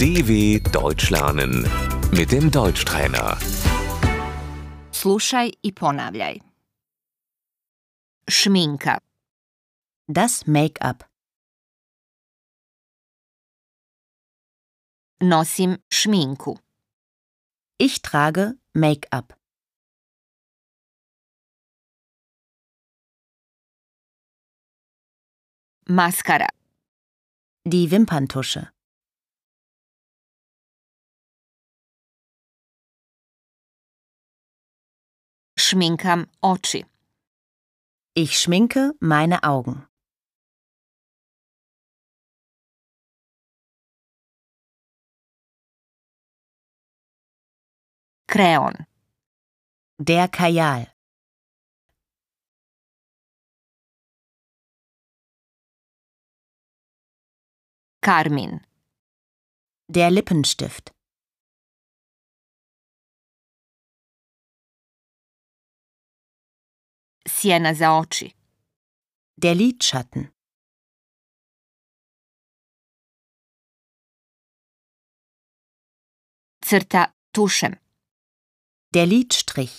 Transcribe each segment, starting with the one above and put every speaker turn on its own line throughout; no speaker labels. DW Deutsch lernen mit dem Deutschtrainer.
Slušaj i ponavljaj. Šminka,
Das Make-up.
nosim šminku,
Ich trage Make-up.
maskara,
Die Wimperntusche.
šminkam oči,
Ich schminke meine Augen.
kreon,
Der Kajal.
karmin,
Der Lippenstift.
sjena za oči,
Der Lidschatten.
crta tušem,
Der Lidstrich.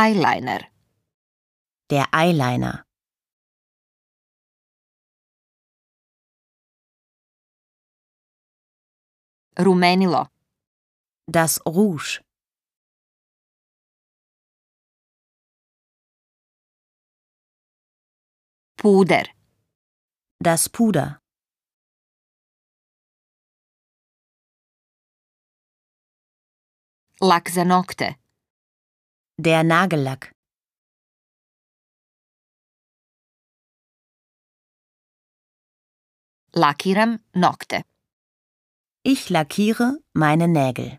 eyeliner,
Der Eyeliner.
rumenilo,
Das Rouge.
puder,
Das Puder.
lak za nokte,
Der Nagellack.
lakiram nokte,
Ich lackiere meine Nägel.